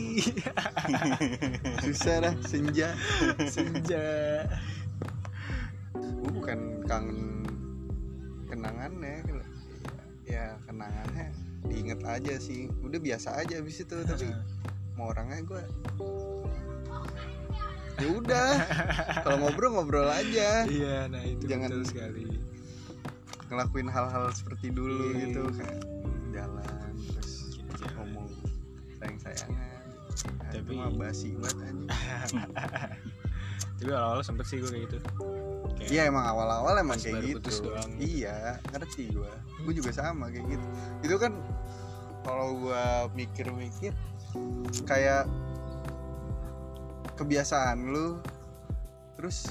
Speaker 1: susah dah senja
Speaker 2: senja
Speaker 1: gue bukan kangen kenangannya ya kenangannya diinget aja sih udah biasa aja abis itu tapi mau orangnya gue ya udah kalau ngobrol ngobrol aja
Speaker 2: iya nah itu
Speaker 1: Eh, Jangan-
Speaker 2: betul sekali
Speaker 1: ngelakuin hal-hal seperti dulu
Speaker 2: Iya.
Speaker 1: gitu kayak jalan terus ngomong sayang sayangan tapi
Speaker 2: Tapi-
Speaker 1: mah basi banget anjing
Speaker 2: tapi awal-awal sempet sih gue kayak gitu Kayak-
Speaker 1: iya emang awal-awal emang
Speaker 2: Pas
Speaker 1: kayak
Speaker 2: baru putus
Speaker 1: gitu
Speaker 2: doang.
Speaker 1: iya ngerti gue gue juga sama kayak gitu itu kan kalau gue mikir-mikir kayak kebiasaan lu terus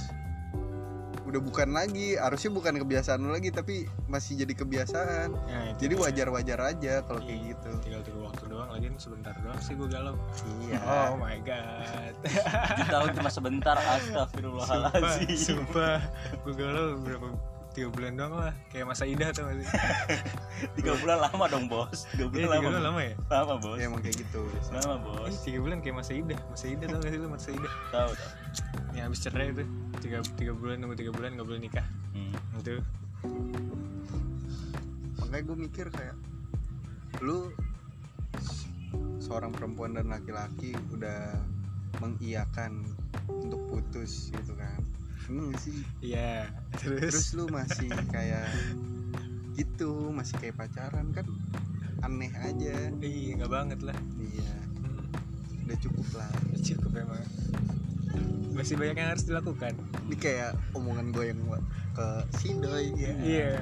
Speaker 1: udah bukan lagi harusnya bukan kebiasaan lu lagi tapi masih jadi kebiasaan
Speaker 2: nah, itu
Speaker 1: jadi
Speaker 2: dia.
Speaker 1: wajar-wajar aja kalau kayak gitu
Speaker 2: tinggal tunggu waktu doang lagi sebentar doang sih gue galau
Speaker 1: iya
Speaker 2: oh my god
Speaker 4: 7 tahun cuma sebentar, astagfirullahaladzim.
Speaker 2: sumpah gue galau berapa tiga bulan doang lah kayak masa indah tuh masih
Speaker 4: Tiga bulan lama dong bos. Tiga
Speaker 2: Iya, tiga
Speaker 4: bulan lama. Oh,
Speaker 2: bulan lama ya
Speaker 4: Lama bos.
Speaker 1: ya, emang kayak gitu
Speaker 4: Lama
Speaker 2: Ih,
Speaker 4: bos.
Speaker 2: tiga bulan kayak masa indah masa indah tau gak sih lu masa indah
Speaker 4: Tahu tahu.
Speaker 2: yang habis cerai itu tiga tiga bulan nunggu tiga bulan nggak boleh nikah Gitu.
Speaker 4: Hmm.
Speaker 2: itu
Speaker 1: makanya gue mikir kayak lu se- seorang perempuan dan laki-laki udah mengiakan untuk putus gitu kan seneng gak sih
Speaker 2: iya terus,
Speaker 1: terus lu masih kayak gitu masih kayak pacaran kan aneh aja
Speaker 2: iya nggak banget lah
Speaker 1: iya
Speaker 2: Hmm,
Speaker 1: udah cukup lah
Speaker 2: cukup emang masih banyak yang harus dilakukan
Speaker 1: ini kayak omongan gue yang buat ke si doi ya
Speaker 2: iya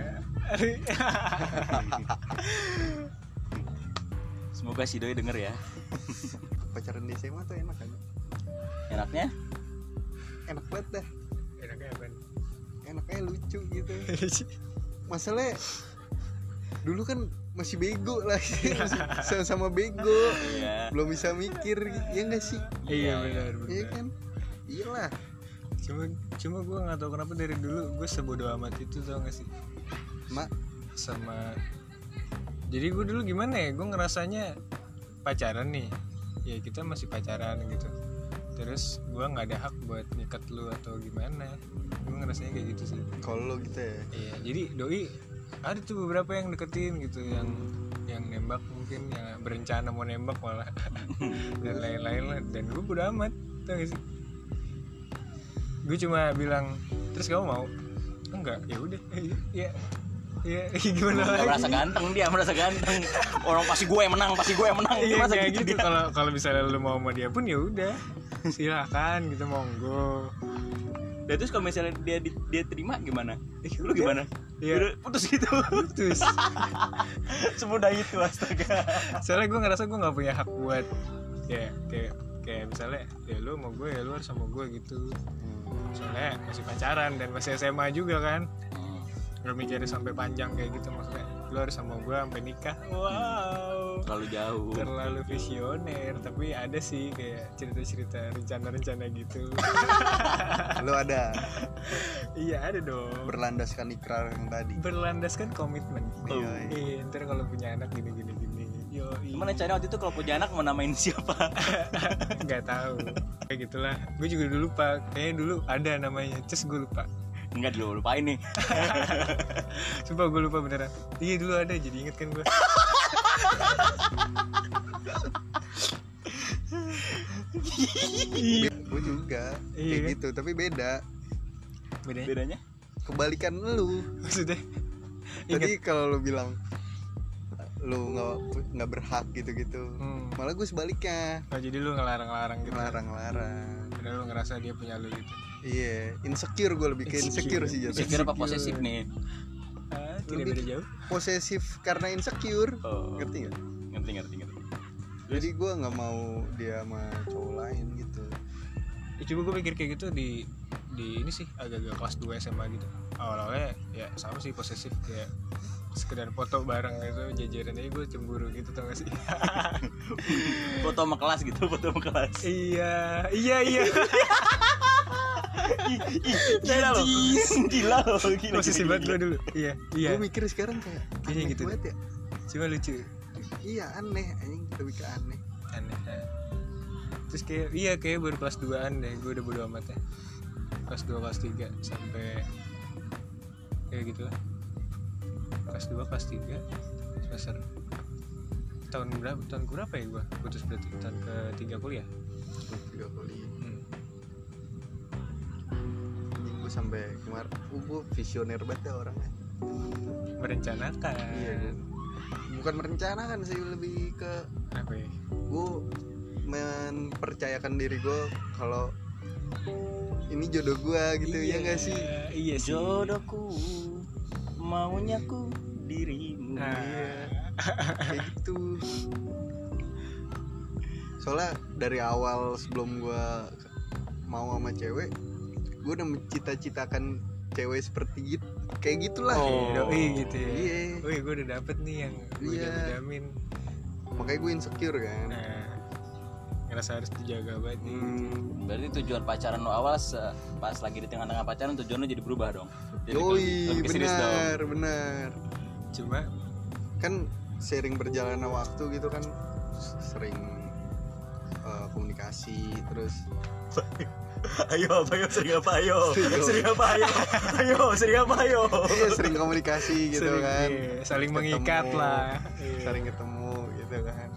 Speaker 4: Semoga si doi denger ya.
Speaker 1: pacaran di SMA tuh enak kan
Speaker 4: Enaknya?
Speaker 1: enak banget dah
Speaker 2: enaknya apa
Speaker 1: enaknya lucu gitu masalahnya dulu kan masih bego lah
Speaker 2: Iya.
Speaker 1: masih sama bego
Speaker 4: Iya.
Speaker 1: belum bisa mikir ya enggak sih
Speaker 2: iya benar
Speaker 1: iya
Speaker 2: benar
Speaker 1: kan iyalah
Speaker 2: cuma cuma gue nggak tahu kenapa dari dulu gue sebodoh amat itu tau gak sih
Speaker 1: mak
Speaker 2: sama jadi gue dulu gimana ya gue ngerasanya pacaran nih ya kita masih pacaran gitu terus gue nggak ada hak buat nyikat lu atau gimana gue ngerasanya kayak gitu sih
Speaker 1: kalau lo gitu ya
Speaker 2: iya jadi doi ada tuh beberapa yang deketin gitu yang yang nembak mungkin yang berencana mau nembak malah dan lain-lain lah dan gue bodo amat tau gak sih gue cuma bilang terus kamu mau enggak ya udah ya ya gimana
Speaker 4: Dia
Speaker 2: lagi
Speaker 4: merasa ganteng dia merasa ganteng. Orang pasti gue yang menang, pasti gue yang menang. Dia
Speaker 2: Iya
Speaker 4: merasa
Speaker 2: kayak
Speaker 4: gitu.
Speaker 2: gitu
Speaker 4: dia.
Speaker 2: kalau kalau misalnya lu mau sama dia pun ya udah silakan gitu monggo
Speaker 4: Dan Nah, terus kalau misalnya dia di- dia terima gimana? Lu gimana?
Speaker 2: Iya.
Speaker 4: Udah putus gitu.
Speaker 2: putus
Speaker 4: Semudah itu astaga.
Speaker 2: soalnya gue ngerasa gue nggak punya hak buat ya kayak kayak misalnya ya lu mau gue ya lu harus sama gue gitu soalnya masih pacaran dan masih SMA juga kan Gak mikirnya sampai panjang kayak gitu maksudnya lu harus sama gue sampai nikah wow
Speaker 4: Terlalu jauh.
Speaker 2: terlalu visioner tapi ada sih kayak cerita-cerita rencana-rencana gitu
Speaker 1: Lu ada
Speaker 2: iya ada dong
Speaker 1: berlandaskan ikrar yang tadi.
Speaker 2: berlandaskan komitmen
Speaker 1: Yoi.
Speaker 2: Iya, ntar kalau punya anak gini gini gini yo
Speaker 4: Gimana caranya waktu itu kalau punya anak mau namain siapa?
Speaker 2: nggak tahu kayak gitulah gue juga dulu lupa kayaknya dulu ada namanya terus gue lupa
Speaker 4: Enggak dulu lupain nih.
Speaker 2: sumpah gue lupa beneran iya dulu ada jadi inget kan gue
Speaker 1: Gue juga
Speaker 2: Iya
Speaker 1: kayak
Speaker 2: kan?
Speaker 1: gitu, tapi beda.
Speaker 2: bedanya
Speaker 4: Bedanya?
Speaker 1: Kebalikan lu.
Speaker 2: maksudnya inget
Speaker 1: Tadi kalau lu bilang lu nggak nggak berhak gitu-gitu.
Speaker 2: Hmm.
Speaker 1: Malah gue sebaliknya
Speaker 2: oh, jadi lu ngelarang-larang gitu
Speaker 1: ngelarang-larang.
Speaker 2: padahal lu ngerasa dia punya lu gitu
Speaker 1: Iya, insecure gue lebih ke insecure,
Speaker 2: Insecure.
Speaker 1: sih jatuh.
Speaker 4: Insecure apa posesif nih?
Speaker 2: ah,
Speaker 1: Lebih-
Speaker 2: tidak beda jauh
Speaker 1: Posesif karena insecure.
Speaker 4: Oh.
Speaker 1: Ngerti gak?
Speaker 4: Ngerti ngerti ngerti.
Speaker 1: Jadi gue nggak mau dia sama cowok lain gitu.
Speaker 2: ya, coba gue pikir kayak gitu di di ini sih agak-agak kelas 2 SMA gitu awal-awalnya ya sama sih posesif kayak sekedar foto bareng gitu jajaran aja gue cemburu gitu tau gak sih
Speaker 4: Foto sama kelas gitu, foto sama kelas.
Speaker 2: iya iya iya
Speaker 4: Ih, ih, gila loh.
Speaker 2: Najis.
Speaker 4: Gila loh, gila.
Speaker 2: posesif
Speaker 4: gila,
Speaker 2: banget
Speaker 4: gila.
Speaker 2: gue dulu iya iya
Speaker 1: Gue mikir sekarang kayak
Speaker 2: Kayaknya
Speaker 1: aneh
Speaker 2: gitu
Speaker 1: banget ya.
Speaker 2: cuma lucu
Speaker 1: Iya aneh, anjing lebih ke aneh.
Speaker 2: aneh ya. terus kayak iya kayak baru kelas 2an deh gue udah bodo amat ya kelas 2 kelas 3 sampai kayak gitu lah kelas 2 kelas 3 semester tahun berapa tahun berapa ya gue putus berarti tahun ke kuliah
Speaker 1: Tiga kali. Gue sampai kemarin, gue visioner banget ya orangnya.
Speaker 2: merencanakan
Speaker 1: Iya, gue bukan merencanakan sih lebih ke
Speaker 2: apa ya
Speaker 1: gue mempercayakan diri gue kalau ini jodoh gue gitu ya nggak sih
Speaker 2: iya sih
Speaker 4: Jodohku maunya ku dirimu.
Speaker 1: Iya.
Speaker 2: nah,
Speaker 1: kayak gitu soalnya dari awal sebelum gue mau sama cewek gue udah mencita-citakan cewek seperti gitu kayak gitulah
Speaker 4: Oh.
Speaker 2: doi gitu ya
Speaker 1: Iya.
Speaker 2: Wih, gue udah dapet nih yang gue
Speaker 1: Iya.
Speaker 2: jamin
Speaker 1: makanya gue insecure kan
Speaker 2: nah ngerasa harus dijaga banget nih
Speaker 1: hmm.
Speaker 4: Berarti tujuan pacaran lo awal se- pas lagi di tengah-tengah pacaran tujuan lo jadi berubah dong. Jadi
Speaker 1: yoi
Speaker 4: lebih ke serius dong.
Speaker 1: benar benar
Speaker 2: cuma
Speaker 1: kan sering berjalannya waktu gitu kan sering eh, komunikasi terus
Speaker 3: Ayo apa ayo sering apa ayo
Speaker 1: Sering.
Speaker 3: Sering apa ayo Ayo sering apa ayo
Speaker 1: iya sering komunikasi gitu
Speaker 2: Sering,
Speaker 1: kan
Speaker 2: iya, saling mengikat
Speaker 1: Ketemu,
Speaker 2: lah Iya.
Speaker 1: saling ketemu gitu kan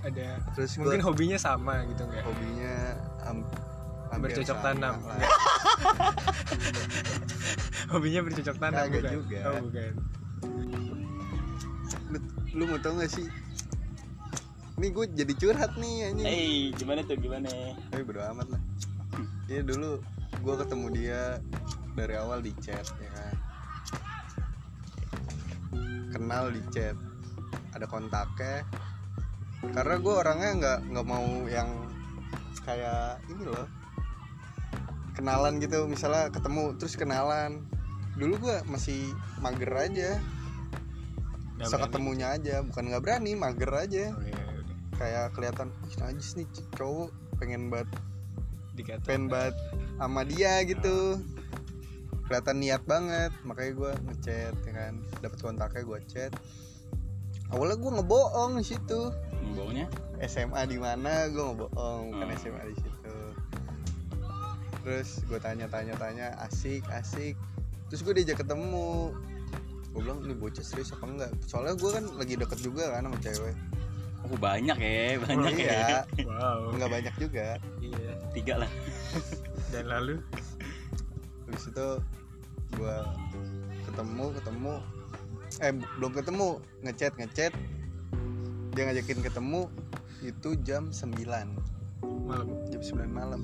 Speaker 2: ada
Speaker 1: terus
Speaker 2: mungkin
Speaker 1: gua
Speaker 2: hobinya sama gitu nggak
Speaker 1: hobinya am- hampir
Speaker 2: Bercocok
Speaker 1: sama
Speaker 2: tanam.
Speaker 1: lah.
Speaker 2: hobinya bercocok tanam
Speaker 1: Oh. Kagak
Speaker 2: bukan?
Speaker 1: juga.
Speaker 2: oh, bukan
Speaker 1: lu, lu mau tau gak sih ini gue jadi curhat nih anjing
Speaker 4: Hey, gimana tuh gimana?
Speaker 1: tapi bodo amat lah iya dulu gue ketemu dia dari awal di chat ya kan kenal di chat ada kontaknya karena gue orangnya nggak nggak mau yang kayak ini loh kenalan gitu misalnya ketemu terus kenalan dulu gue masih mager aja
Speaker 2: Nggak
Speaker 1: so
Speaker 2: berani.
Speaker 1: ketemunya aja bukan nggak berani mager aja
Speaker 2: Oh, iya, udah.
Speaker 1: kayak kelihatan "Ih, najis nih cowok pengen banget
Speaker 2: Dikata-
Speaker 1: pengen banget sama dia gitu kelihatan niat banget makanya gue ngechat ya kan dapat kontaknya gue chat awalnya gue ngebohong di situ
Speaker 4: Hmm, Baunya?
Speaker 1: SMA di mana gue ngebohong bukan
Speaker 4: Hmm.
Speaker 1: SMA di situ terus gue tanya-tanya tanya asik asik terus gue diajak ketemu gue bilang ini bocah serius apa enggak soalnya gue kan lagi deket juga kan sama cewek
Speaker 4: Oh banyak ya, banyak ya.
Speaker 1: iya
Speaker 2: wow
Speaker 1: nggak banyak juga
Speaker 2: iya
Speaker 4: Tiga lah.
Speaker 2: dan lalu
Speaker 1: habis itu gua ketemu ketemu eh belum ketemu ngechat ngechat dia ngajakin ketemu itu jam 9
Speaker 2: malam
Speaker 1: jam 9 malam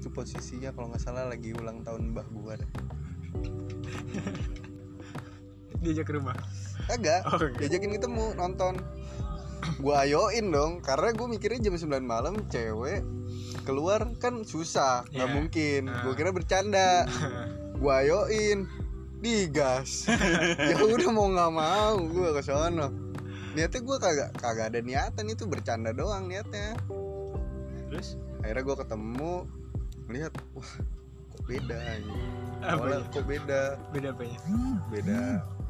Speaker 1: itu posisinya kalau nggak salah lagi ulang tahun mbah gua dah.
Speaker 2: diajak ke rumah
Speaker 1: kagak
Speaker 2: Oh, enggak.
Speaker 1: diajakin ketemu nonton gua ayoin dong karena gue mikirnya jam 9 malam cewek keluar kan susah nggak
Speaker 2: Iya.
Speaker 1: mungkin
Speaker 2: Ah.
Speaker 1: gua kira bercanda gua ayoin digas ya udah mau nggak mau gua ke sono niatnya gua kagak kagak ada niatan itu bercanda doang niatnya
Speaker 2: terus
Speaker 1: akhirnya gua ketemu melihat wah kok beda ini
Speaker 2: apa ya?
Speaker 1: Awalnya kok beda
Speaker 2: beda ya? apanya
Speaker 1: beda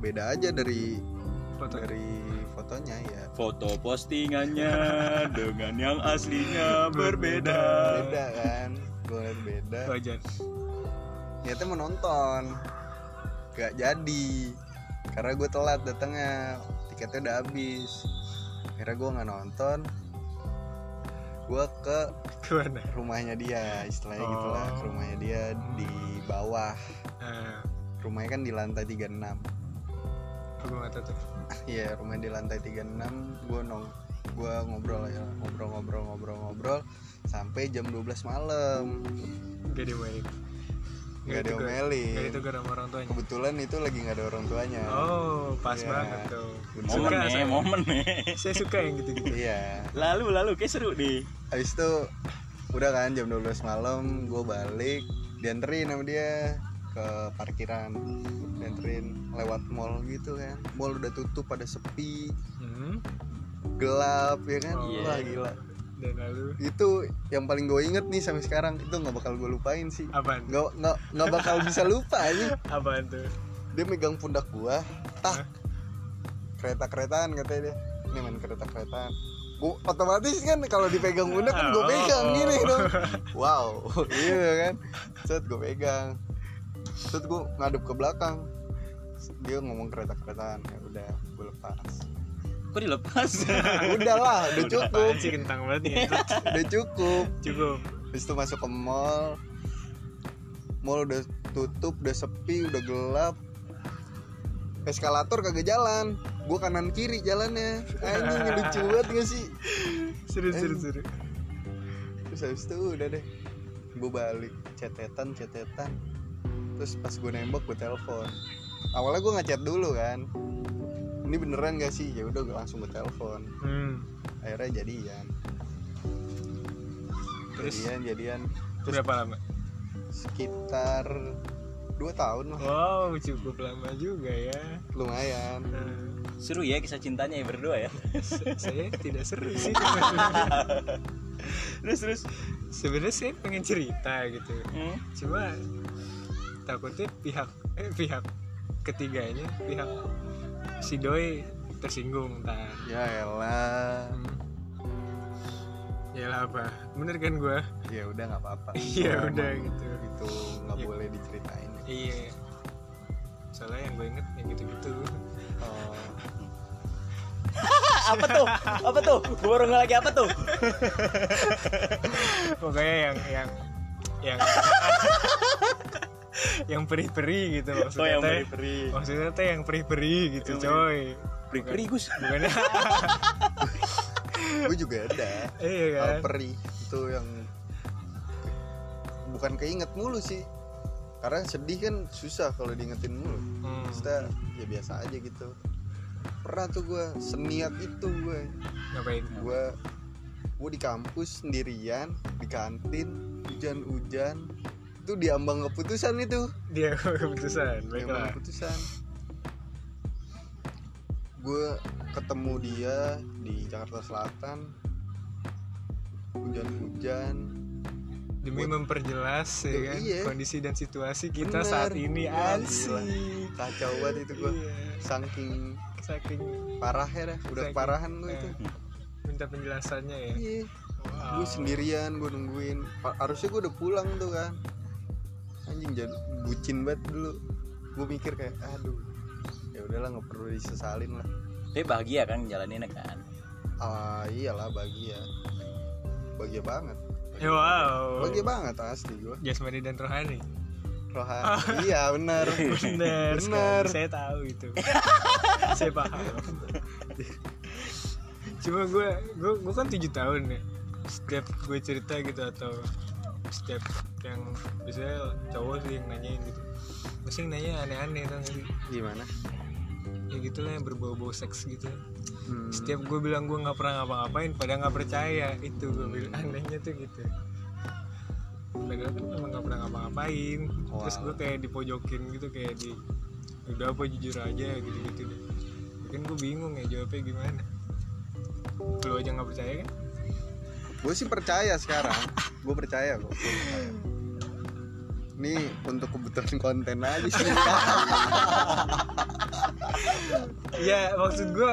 Speaker 1: beda aja dari
Speaker 2: foto
Speaker 1: dari fotonya ya
Speaker 4: Foto postingannya dengan yang aslinya berbeda.
Speaker 1: beda kan gue liat beda
Speaker 2: wajan
Speaker 1: niatnya mau nonton gak jadi karena gue telat datangnya tiketnya udah habis akhirnya gue nggak nonton gue ke
Speaker 2: kemana
Speaker 1: rumahnya dia istilahnya gitu lah
Speaker 2: Oh.
Speaker 1: ke rumahnya dia di bawah
Speaker 2: Eh,
Speaker 1: rumahnya kan di lantai 36
Speaker 2: aku nggak tahu tuh
Speaker 1: Iya rumah di lantai 36 Gue nong gue ngobrol ya ngobrol-ngobrol-ngobrol-ngobrol sampai jam 12 malam
Speaker 2: gak dimain
Speaker 1: nggak diomelin
Speaker 2: gak ditegur sama orang tuanya
Speaker 1: kebetulan itu lagi nggak ada orang tuanya
Speaker 2: oh pas
Speaker 1: Iya.
Speaker 2: banget tuh
Speaker 4: Momen
Speaker 2: Suka
Speaker 4: nih,
Speaker 2: saya.
Speaker 4: momen nih.
Speaker 2: saya suka yang gitu gitu
Speaker 1: iya
Speaker 4: Lalu lalu kayak seru deh.
Speaker 1: habis itu udah kan jam 12 malam gue balik dianterin sama dia ke parkiran dianterin lewat mall gitu kan mall udah tutup pada sepi
Speaker 2: hmm.
Speaker 1: gelap ya kan
Speaker 2: Oh,
Speaker 4: iya.
Speaker 1: wah gila
Speaker 2: dan lalu
Speaker 1: itu yang paling gue inget nih sampai sekarang itu nggak bakal gue lupain sih
Speaker 2: apaan tuh?
Speaker 1: nggak nggak nggak bakal bisa lupa aja
Speaker 2: apaan tuh
Speaker 1: dia megang pundak gua tak kereta keretaan katanya dia ini main kereta keretaan gua otomatis kan kalau dipegang pundak kan
Speaker 2: Oh.
Speaker 1: gua pegang gini dong wow gitu kan set gua pegang set gua ngadep ke belakang dia ngomong kereta keretaan ya udah gua lepas
Speaker 4: Kok dilepas?
Speaker 1: udah lah
Speaker 2: Udah
Speaker 1: udah cukup
Speaker 2: apaan sih kentang banget nih
Speaker 4: Iya.
Speaker 2: Tut,
Speaker 1: udah cukup
Speaker 2: cukup
Speaker 1: Habis itu masuk ke mall Mall udah tutup, udah sepi, udah gelap Eskalator kagak jalan Gue kanan kiri jalannya Anjing lucu banget gak sih
Speaker 2: seru seru seru
Speaker 1: Terus habis itu udah deh Gue balik, cetetan, cetetan Terus pas gue nembak gue telepon Awalnya gue ngechat dulu kan Ini beneran gak sih? Ya udah gue langsung gue telepon
Speaker 2: hmm.
Speaker 1: Akhirnya jadian
Speaker 2: Terus?
Speaker 1: Jadian, jadian Terus-
Speaker 2: berapa lama
Speaker 1: Sekitar 2 tahun lah
Speaker 2: wow cukup lama juga ya
Speaker 1: lumayan
Speaker 2: Nah,
Speaker 4: seru ya kisah cintanya ya berdua ya.
Speaker 2: se- saya tidak seru sih sebenarnya.
Speaker 4: Terus terus.
Speaker 2: sebenarnya saya pengen cerita gitu
Speaker 4: Hmm.
Speaker 2: cuma takutnya pihak eh pihak ketiganya pihak si doi tersinggung ntar
Speaker 1: ya elah
Speaker 2: ya apa bener kan gua
Speaker 1: ya udah nggak apa-apa
Speaker 2: Iya,
Speaker 1: Emang
Speaker 2: udah gitu.
Speaker 1: itu nggak
Speaker 2: Iya.
Speaker 1: boleh diceritain
Speaker 2: iya soalnya yang gue inget yang gitu-gitu
Speaker 1: oh,
Speaker 4: Ah, apa tuh? Apa tuh? Gua baru nggak lagi apa tuh?
Speaker 2: pokoknya yang yang yang yang perih-perih gitu maksudnya
Speaker 4: Oh yang
Speaker 2: teh.
Speaker 4: beri-beri.
Speaker 2: maksudnya teh yang perih-perih gitu
Speaker 4: Yang
Speaker 2: coy
Speaker 4: Beri-beri Gus.
Speaker 2: bukannya
Speaker 1: gue juga ada
Speaker 2: iya
Speaker 1: Hal
Speaker 2: kan
Speaker 1: perih itu yang bukan keinget mulu sih karena sedih kan susah kalau diingetin mulu
Speaker 2: Hmm.
Speaker 1: kita ya biasa aja gitu pernah tuh gue seniat itu gue
Speaker 2: ngapain
Speaker 1: gue gue di kampus sendirian di kantin hujan-hujan itu diambang keputusan itu
Speaker 2: dia keputusan
Speaker 1: Yang
Speaker 2: baiklah
Speaker 1: keputusan gue ketemu dia di Jakarta Selatan hujan-hujan
Speaker 2: demi memperjelas ya
Speaker 1: Iya,
Speaker 2: kan
Speaker 1: iya.
Speaker 2: kondisi dan situasi kita
Speaker 1: Bener.
Speaker 2: saat ini
Speaker 1: Gila,
Speaker 2: asik
Speaker 1: kacau banget itu gue
Speaker 2: Iya,
Speaker 1: saking
Speaker 2: saking
Speaker 1: parahnya dah udah
Speaker 2: Saking-
Speaker 1: parahan gue itu
Speaker 2: eh, minta penjelasannya ya
Speaker 1: iya
Speaker 2: Wow.
Speaker 1: gue sendirian gue nungguin Ha- harusnya gue udah pulang tuh kan anjing jadi bucin banget dulu gue mikir kayak aduh ya udahlah nggak perlu disesalin lah
Speaker 4: Tapi bahagia kan jalaninnya kan.
Speaker 1: ah iyalah bahagia bahagia banget
Speaker 2: Ya, wow
Speaker 1: bahagia banget asli gue
Speaker 2: jasmani dan rohani
Speaker 1: Rohan. iya benar.
Speaker 2: bener
Speaker 1: Bener.
Speaker 2: sekali. saya tahu itu saya paham cuma gue gue kan tujuh tahun ya setiap gue cerita gitu atau setiap yang biasanya cowok sih yang nanyain gitu masih nanya aneh-aneh tau gak sih
Speaker 1: gimana
Speaker 2: ya gitu lah yang berbau-bau seks gitu
Speaker 1: Hmm.
Speaker 2: setiap gue bilang gue nggak pernah ngapa-ngapain pada nggak percaya itu gue bilang anehnya tuh gitu padahal kan emang nggak pernah ngapa-ngapain terus
Speaker 1: Wow.
Speaker 2: gue kayak dipojokin gitu kayak di udah apa jujur aja gitu gitu deh Ya kan gue bingung ya jawabnya gimana lu aja nggak percaya kan
Speaker 1: gue sih percaya sekarang gue percaya kok ini untuk kebutuhan konten aja sih
Speaker 2: ya maksud gue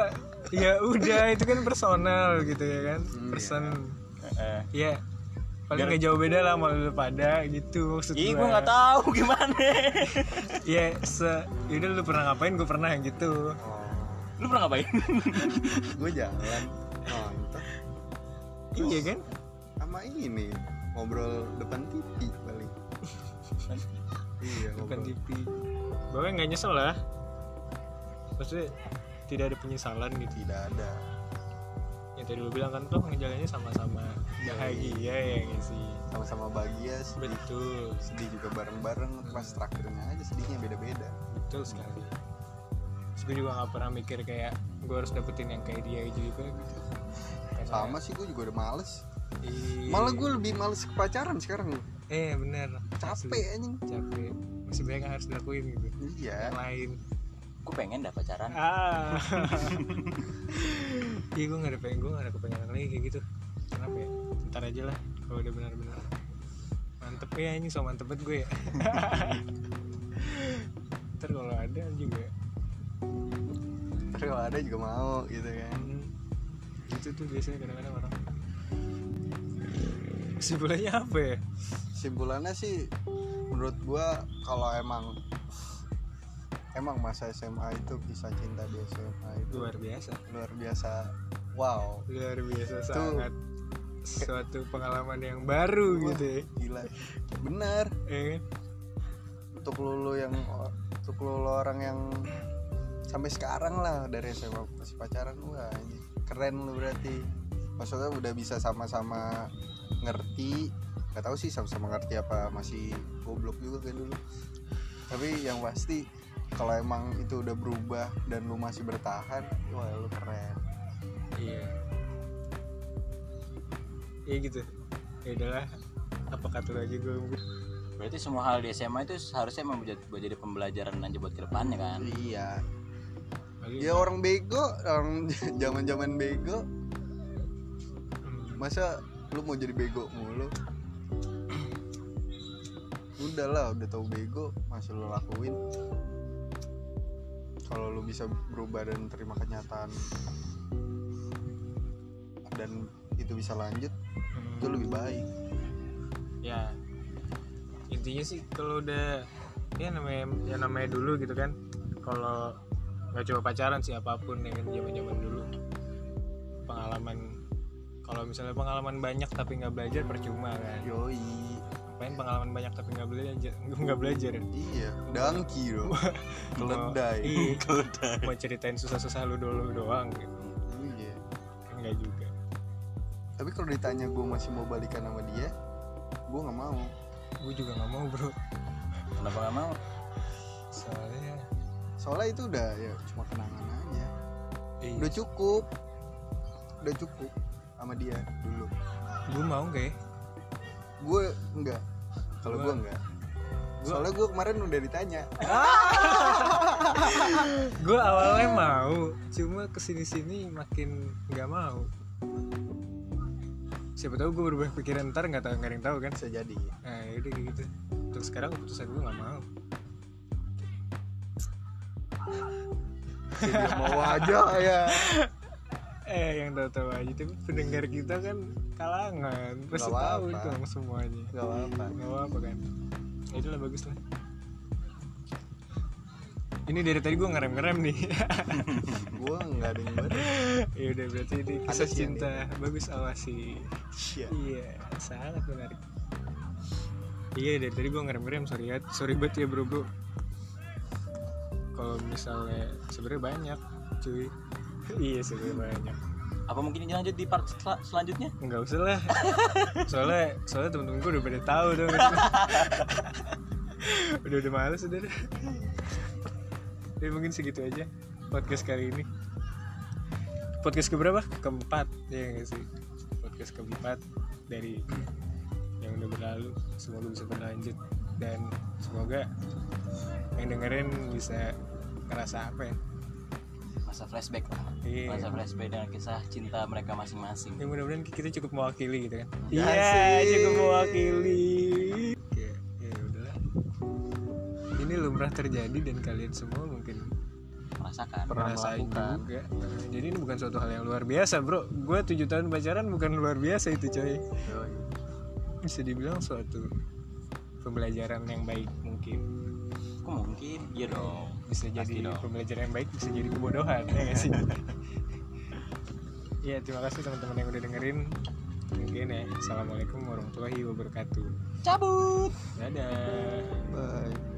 Speaker 2: ya udah itu kan personal gitu ya kan
Speaker 1: Hmm,
Speaker 2: person
Speaker 4: Eh,
Speaker 2: ya paling nggak jauh beda lah sama lu pada gitu maksud
Speaker 4: Ih,
Speaker 2: gue
Speaker 4: gue nggak tahu gimana.
Speaker 2: ya se yaudah lu pernah ngapain gue pernah gitu
Speaker 4: Lu pernah ngapain?
Speaker 1: gue jalan nonton
Speaker 2: iya kan
Speaker 1: sama ini ngobrol depan TV paling iya
Speaker 2: bukan
Speaker 1: ngobrol
Speaker 2: TV bahkan nggak nyesel lah maksudnya tidak ada penyesalan gitu
Speaker 1: tidak ada
Speaker 2: yang tadi lu bilang kan tuh ngejalannya sama-sama bahagia ya nggak sih
Speaker 1: sama-sama bahagia sedih
Speaker 2: betul
Speaker 1: sedih juga bareng-bareng pas terakhirnya aja sedihnya beda-beda
Speaker 2: betul sekali Terus gue juga nggak pernah mikir kayak gue harus dapetin yang kayak dia juga gitu Karena-
Speaker 1: sama sih gue juga udah males
Speaker 2: Ih.
Speaker 1: malah gue lebih males ke pacaran sekarang
Speaker 2: Iya. eh bener Asli,
Speaker 1: capek anjing
Speaker 2: capek masih banyak yang harus dilakuin gitu
Speaker 1: iya
Speaker 2: yang lain
Speaker 4: Gue pengen dah pacaran.
Speaker 2: ah iya gue gak ada pengen gue gak ada kepengenan lagi kayak gitu kenapa ya ntar aja lah kalau udah benar-benar mantep ya ini so mantep banget gue ya ntar kalau ada juga
Speaker 1: Ntar kalau ada juga mau gitu kan
Speaker 2: hmm. itu tuh biasanya kadang-kadang orang sebenarnya apa ya
Speaker 1: simpulannya sih menurut gua kalau emang emang masa SMA itu kisah cinta di SMA itu
Speaker 2: luar biasa
Speaker 1: luar biasa wow
Speaker 2: luar biasa
Speaker 1: Itu-
Speaker 2: sangat suatu pengalaman yang baru
Speaker 1: Wah.
Speaker 2: gitu ya,
Speaker 1: gila bener
Speaker 2: ya kan?
Speaker 1: untuk lulu yang untuk lulu orang yang sampai sekarang lah dari SMA masih pacaran gua anjing. keren lu berarti maksudnya udah bisa sama-sama ngerti nggak tahu sih sama-sama ngerti apa masih goblok juga kayak dulu tapi yang pasti kalau emang itu udah berubah dan lu masih bertahan wah lu keren
Speaker 2: Iya. Iya gitu. Ya udahlah. Apa kata lu aja gue
Speaker 4: Berarti semua hal di SMA itu seharusnya emang buat buat jadi pembelajaran aja buat kedepannya kan.
Speaker 1: iya ya orang bego orang zaman zaman bego masa lu mau jadi bego mulu udah lah udah tahu bego masih lu lakuin kalau lu bisa berubah dan terima kenyataan dan itu bisa lanjut itu lebih baik
Speaker 2: Ya. Intinya sih kalau udah ya namanya ya namanya dulu gitu kan. Kalau nggak coba pacaran sih apapun ya kan zaman-zaman dulu. Pengalaman kalau misalnya pengalaman banyak tapi nggak belajar percuma kan.
Speaker 1: yoi
Speaker 2: Pengen pengalaman banyak tapi nggak belajar nggak belajar.
Speaker 1: iya dangki dong keledai
Speaker 2: Iya.
Speaker 3: Keledai.
Speaker 2: Mau ceritain susah-susah lu dulu doang gitu.
Speaker 1: iya
Speaker 2: Enggak juga.
Speaker 1: tapi kalau ditanya gue masih mau balikan sama dia gue nggak mau
Speaker 2: Gue juga nggak mau bro.
Speaker 4: Kenapa gak mau?
Speaker 2: Soalnya
Speaker 1: soalnya itu udah ya cuma kenangan aja
Speaker 2: eh,
Speaker 1: udah cukup udah cukup sama dia dulu
Speaker 2: gue mau gak ya?
Speaker 1: gue enggak kalau
Speaker 2: Gua-
Speaker 1: gue enggak soalnya gue kemarin udah ditanya
Speaker 2: Gue awalnya mau, cuma kesini-sini makin nggak mau. Siapa tahu gue berubah pikiran ntar nggak tahu nggak ada yang tahu kan?
Speaker 1: bisa jadi
Speaker 2: Nah yaudah kayak gitu. Untuk sekarang keputusan gue nggak mau.
Speaker 1: dia mau aja ya
Speaker 2: Eh yang tahu-tahu aja, tapi pendengar kita kan kalangan, pasti
Speaker 1: Nggak
Speaker 2: tahu
Speaker 1: apa-apa.
Speaker 2: dong semuanya.
Speaker 1: nggak apa-apa
Speaker 2: Gak apa-apa kan Ya itulah bagus lah Ini dari tadi gue ngerem-ngerem nih
Speaker 1: gue enggak ada yang baru
Speaker 2: Ya udah berarti ini kisah
Speaker 1: sih yang
Speaker 2: cinta Bagus awasi
Speaker 1: iya
Speaker 2: ya, Iya sangat menarik Iya dari tadi gue ngerem-ngerem sorry ya Sorry banget ya bro bro Kalau misalnya sebenarnya banyak cuy Iya sebenarnya banyak
Speaker 4: Apa mungkin ini lanjut di part sel- selanjutnya?
Speaker 2: Enggak usah lah. Soalnya soalnya temen-temen gue udah pada tahu tuh. udah udah males udah. deh. Jadi mungkin segitu aja podcast kali ini. Podcast keberapa? Keempat ya nggak sih. Podcast keempat dari yang udah berlalu. Semoga bisa berlanjut dan semoga yang dengerin bisa ngerasa apa ya?
Speaker 4: Masa flashback lah.
Speaker 2: Iya.
Speaker 4: Masa flashback dengan kisah cinta mereka masing-masing.
Speaker 2: Ya mudah-mudahan kita cukup mewakili gitu kan.
Speaker 1: Iya, cukup mewakili.
Speaker 2: Oke, ya udahlah. Ini lumrah terjadi dan kalian semua mungkin
Speaker 4: Merasakan.
Speaker 1: Pernah
Speaker 2: merasain
Speaker 1: melakukan.
Speaker 2: juga. Jadi ini bukan suatu hal yang luar biasa, Bro. Gua 7 tahun pacaran bukan luar biasa itu, coy.
Speaker 1: Yoi.
Speaker 2: Bisa dibilang suatu pembelajaran yang baik mungkin.
Speaker 4: Kok mungkin? Iya dong.
Speaker 2: Bisa
Speaker 4: Pasti
Speaker 2: jadi
Speaker 4: dong.
Speaker 2: pembelajaran yang baik, bisa jadi kebodohan, ya nggak sih? Ya, terima kasih teman-teman yang udah dengerin. Mungkin ya. Assalamualaikum warahmatullahi wabarakatuh.
Speaker 4: Cabut.
Speaker 2: Dadah.
Speaker 1: Bye.